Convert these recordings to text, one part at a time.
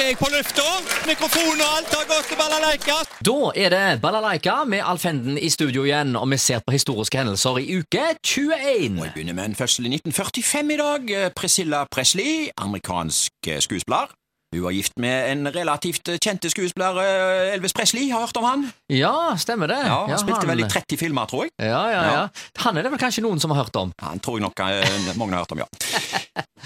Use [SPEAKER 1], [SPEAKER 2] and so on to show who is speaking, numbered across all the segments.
[SPEAKER 1] er jeg på lufta. Mikrofon og alt har gått til balalaika.
[SPEAKER 2] Da er det Balalaika med Alfenden i studio igjen, og vi ser på historiske hendelser i uke 21.
[SPEAKER 1] Jeg begynner med en fødsel i 1945 i dag. Eh, Priscilla Presley, amerikansk eh, skuespiller. Hun var gift med en relativt eh, kjente skuespiller, eh, Elvis Presley. Har hørt om han?
[SPEAKER 2] Ja, stemmer det.
[SPEAKER 1] Ja, Han spilte vel i
[SPEAKER 2] han-
[SPEAKER 1] 30 filmer, tror jeg.
[SPEAKER 2] Ja, ja, ja.
[SPEAKER 1] Ja.
[SPEAKER 2] Han er det vel kanskje noen som har hørt om.
[SPEAKER 1] Han tror jeg nok eh, mange har hørt om, ja.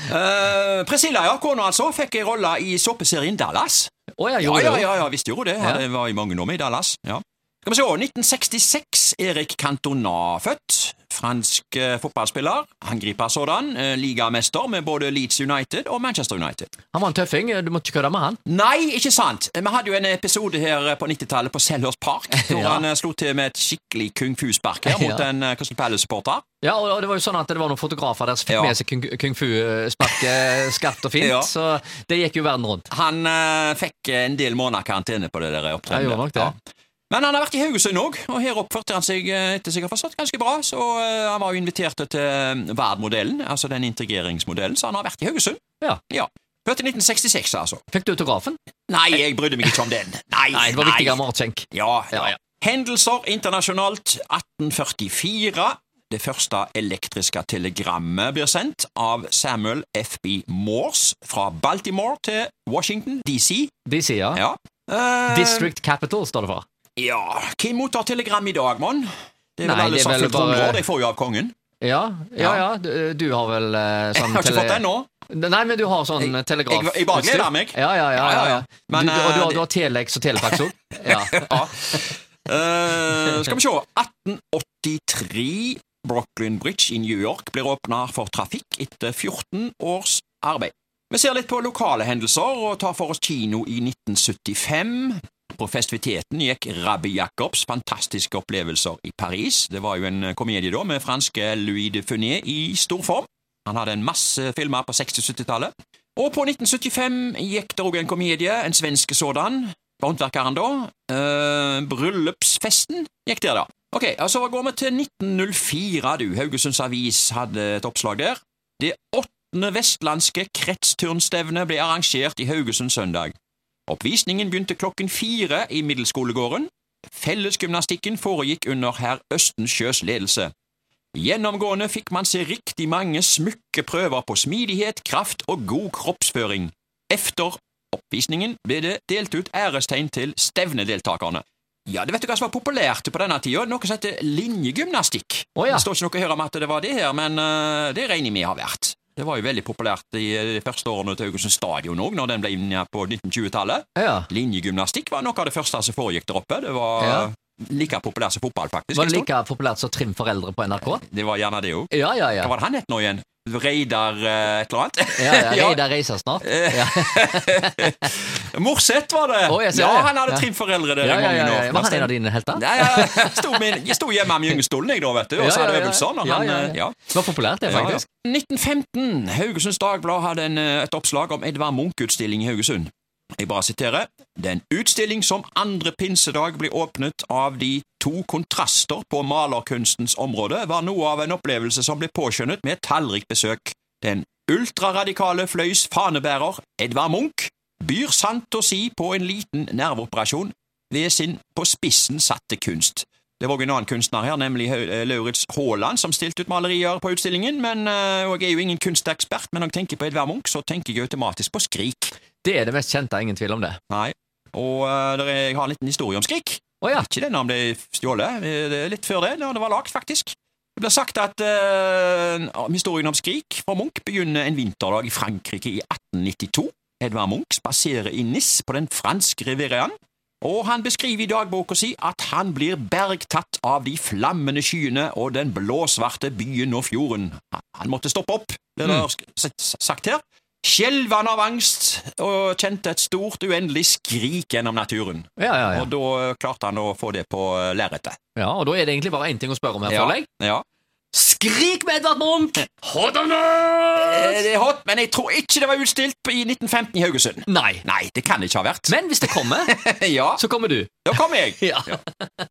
[SPEAKER 1] Eh, Priscilla, ja, kona altså, fikk ei rolle i såpeserien Dallas.
[SPEAKER 2] Å ja,
[SPEAKER 1] Ja,
[SPEAKER 2] gjorde
[SPEAKER 1] ja,
[SPEAKER 2] det.
[SPEAKER 1] ja, ja, visst gjorde hun det.
[SPEAKER 2] Ja.
[SPEAKER 1] Det var i mange år med i Dallas. Ja. Skal vi se, 1966. Erik Cantona født. Fransk eh, fotballspiller. Angriper sådan. Eh, ligamester med både Leeds United og Manchester United.
[SPEAKER 2] Han var en tøffing, du måtte ikke kødde med han.
[SPEAKER 1] Nei, ikke sant! Eh, Vi hadde jo en episode her eh, på 90-tallet på Selhurst Park, hvor
[SPEAKER 2] Ja.
[SPEAKER 1] han eh, slo til med et skikkelig kung fu-spark her mot
[SPEAKER 2] Ja.
[SPEAKER 1] en eh, Crystal Palace-supporter.
[SPEAKER 2] Ja, og og det var jo sånn at det var noen fotografer der som fikk
[SPEAKER 1] Ja.
[SPEAKER 2] med seg kung, kung fu-sparket eh, skarpt og fint,
[SPEAKER 1] Ja.
[SPEAKER 2] så det gikk jo verden rundt.
[SPEAKER 1] Han eh, fikk eh, en del måneder karantene på det der
[SPEAKER 2] Ja,
[SPEAKER 1] opptredenet.
[SPEAKER 2] gjorde nok det.
[SPEAKER 1] Men han har vært i Haugesund òg, og her oppførte han seg eh, etter seg har forstått ganske bra. Så eh, han var jo invitert til eh, VARD-modellen, altså den integreringsmodellen, så han har vært i Haugesund.
[SPEAKER 2] Ja.
[SPEAKER 1] ja. Født i 1966, altså.
[SPEAKER 2] Fikk du autografen?
[SPEAKER 1] Nei, jeg brydde meg ikke om den. Nei,
[SPEAKER 2] Nei, det var viktigere med artskjenk.
[SPEAKER 1] Ja, ja,
[SPEAKER 2] Ja, ja.
[SPEAKER 1] ja. Hendelser internasjonalt 1844. Det første elektriske telegrammet blir sendt av Samuel F.B. Morse fra Baltimore til Washington DC.
[SPEAKER 2] De sier
[SPEAKER 1] Ja. Eh,
[SPEAKER 2] District Capital, står det for.
[SPEAKER 1] Ja, hvem mottar telegram i dag, mon? Det er vel
[SPEAKER 2] Nei,
[SPEAKER 1] alle
[SPEAKER 2] det er
[SPEAKER 1] som har
[SPEAKER 2] vel
[SPEAKER 1] fulgt rundt
[SPEAKER 2] bare-
[SPEAKER 1] år, de får jo av kongen.
[SPEAKER 2] Ja, ja, ja, du, du har vel eh,
[SPEAKER 1] Jeg har
[SPEAKER 2] sånn
[SPEAKER 1] ikke
[SPEAKER 2] tele-
[SPEAKER 1] fått det ennå.
[SPEAKER 2] Nei, men du har sånn
[SPEAKER 1] Jeg-
[SPEAKER 2] telegraf...
[SPEAKER 1] jeg- jeg bare gleder meg.
[SPEAKER 2] Ja, ja, ja. ja,
[SPEAKER 1] Ja, ja,
[SPEAKER 2] ja.
[SPEAKER 1] ja. Men,
[SPEAKER 2] du, du, og du,
[SPEAKER 1] eh,
[SPEAKER 2] har, du har Telex og Telefax òg? Ja.
[SPEAKER 1] Ja. Eh, skal vi se. 1883. Brooklyn Bridge i New York blir åpna for trafikk etter 14 års arbeid. Vi ser litt på lokale hendelser og tar for oss kino i 1975. På festiviteten gikk Rabbi Jacobs fantastiske opplevelser i Paris. Det var jo en komedie da med franske Louis de Funès i stor form. Han hadde en masse filmer på 60-70-tallet. Og på 1975 gikk det òg en komedie, en svenske sådan. Håndverkeren, da. Eh, bryllupsfesten gikk der, da. Ok, og Så går vi til 1904, du. Haugesunds Avis hadde et oppslag der. Det åttende vestlandske kretsturnstevnet ble arrangert i Haugesund søndag. Oppvisningen begynte klokken fire i middelsskolegården. Fellesgymnastikken foregikk under herr Østensjøs ledelse. Gjennomgående fikk man se riktig mange smukke prøver på smidighet, kraft og god kroppsføring. Efter oppvisningen ble det delt ut ærestegn til stevnedeltakerne. Ja, det vet du hva som var populært på denne tida? Noe som heter linjegymnastikk.
[SPEAKER 2] Å, ja.
[SPEAKER 1] Det står ikke noe her om at det var det her, men eh, det regner jeg med har vært. Det var jo veldig populært i eh, de første årene til Haugesund Stadion òg, når den ble innført på 1920-tallet.
[SPEAKER 2] ja.
[SPEAKER 1] Linjegymnastikk var noe av det første som foregikk der oppe. Det var
[SPEAKER 2] Ja.
[SPEAKER 1] like populært som fotball, faktisk.
[SPEAKER 2] Var
[SPEAKER 1] en
[SPEAKER 2] det
[SPEAKER 1] stund.
[SPEAKER 2] like populært som Trim foreldre på NRK?
[SPEAKER 1] det var gjerne det òg.
[SPEAKER 2] Ja, ja, ja.
[SPEAKER 1] Hva var det han het nå igjen? Reidar eh, et eller annet?
[SPEAKER 2] ja, ja.
[SPEAKER 1] Ja.
[SPEAKER 2] Reidar reiser snart. Ja.
[SPEAKER 1] Morseth var det!
[SPEAKER 2] Å, jeg ser
[SPEAKER 1] ja,
[SPEAKER 2] det.
[SPEAKER 1] han
[SPEAKER 2] Ja.
[SPEAKER 1] hadde trimforeldre der
[SPEAKER 2] Ja,
[SPEAKER 1] i
[SPEAKER 2] ja,
[SPEAKER 1] mange
[SPEAKER 2] ja,
[SPEAKER 1] år.
[SPEAKER 2] ja. Var han en av dine helter?
[SPEAKER 1] Nei, jeg, sto min, jeg sto hjemme med gyngestolen, jeg, da, vet du, og så hadde øvelser. når
[SPEAKER 2] Ja,
[SPEAKER 1] han,
[SPEAKER 2] ja,
[SPEAKER 1] eh,
[SPEAKER 2] ja.
[SPEAKER 1] ja.
[SPEAKER 2] Det var populært, det, faktisk.
[SPEAKER 1] Ja, ja. 1915. Haugesunds Dagblad hadde en, eh, et oppslag om Edvard Munch-utstilling i Haugesund. Jeg bare siterer. Den utstilling som andre pinsedag ble åpnet av de to kontraster på malerkunstens område, var noe av en opplevelse som ble påskjønnet med tallrikt besøk. Den ultraradikale fløys fanebærer, Edvard Munch, byr sant å si på en liten nerveoperasjon ved sin på spissen satte kunst. Det var også en annen kunstner her, nemlig Hau- eh, Lauritz Haaland, som stilte ut malerier på utstillingen. men eh, og Jeg er jo ingen kunstekspert, men når jeg tenker på Edvard Munch, så tenker jeg automatisk på Skrik.
[SPEAKER 2] Det er det mest kjente, ingen tvil om det.
[SPEAKER 1] Nei. Og eh, der er, jeg har en liten historie om Skrik.
[SPEAKER 2] Å ja.
[SPEAKER 1] Ikke den han ble stjålet, eh, det er litt før det, da det var lagd, faktisk. Det blir sagt at eh, om historien om Skrik fra Munch begynner en vinterdag i Frankrike i 1892. Edvard Munch spaserer i Nis på den franske rivieraen, og han beskriver i dagboka si at han blir bergtatt av de flammende skyene og den blåsvarte byen og fjorden. Han måtte stoppe opp, blir det s- s- sagt her. Skjelv han av angst og kjente et stort, uendelig skrik gjennom naturen.
[SPEAKER 2] Ja, ja, ja.
[SPEAKER 1] Og da eh, klarte han å få det på eh, lerretet.
[SPEAKER 2] ja, og da er det egentlig bare én ting å spørre om her,
[SPEAKER 1] Ja,
[SPEAKER 2] føler jeg.
[SPEAKER 1] ja.
[SPEAKER 2] Skrik med Edvard Munch!
[SPEAKER 1] Eh,
[SPEAKER 2] Hordanes!
[SPEAKER 1] Det er hot, men jeg tror ikke det var utstilt på- i 1915 i Haugesund.
[SPEAKER 2] Nei.
[SPEAKER 1] Nei, det kan det ikke ha vært.
[SPEAKER 2] Men hvis det kommer,
[SPEAKER 1] ja,
[SPEAKER 2] så kommer du.
[SPEAKER 1] da kom jeg.
[SPEAKER 2] Ja.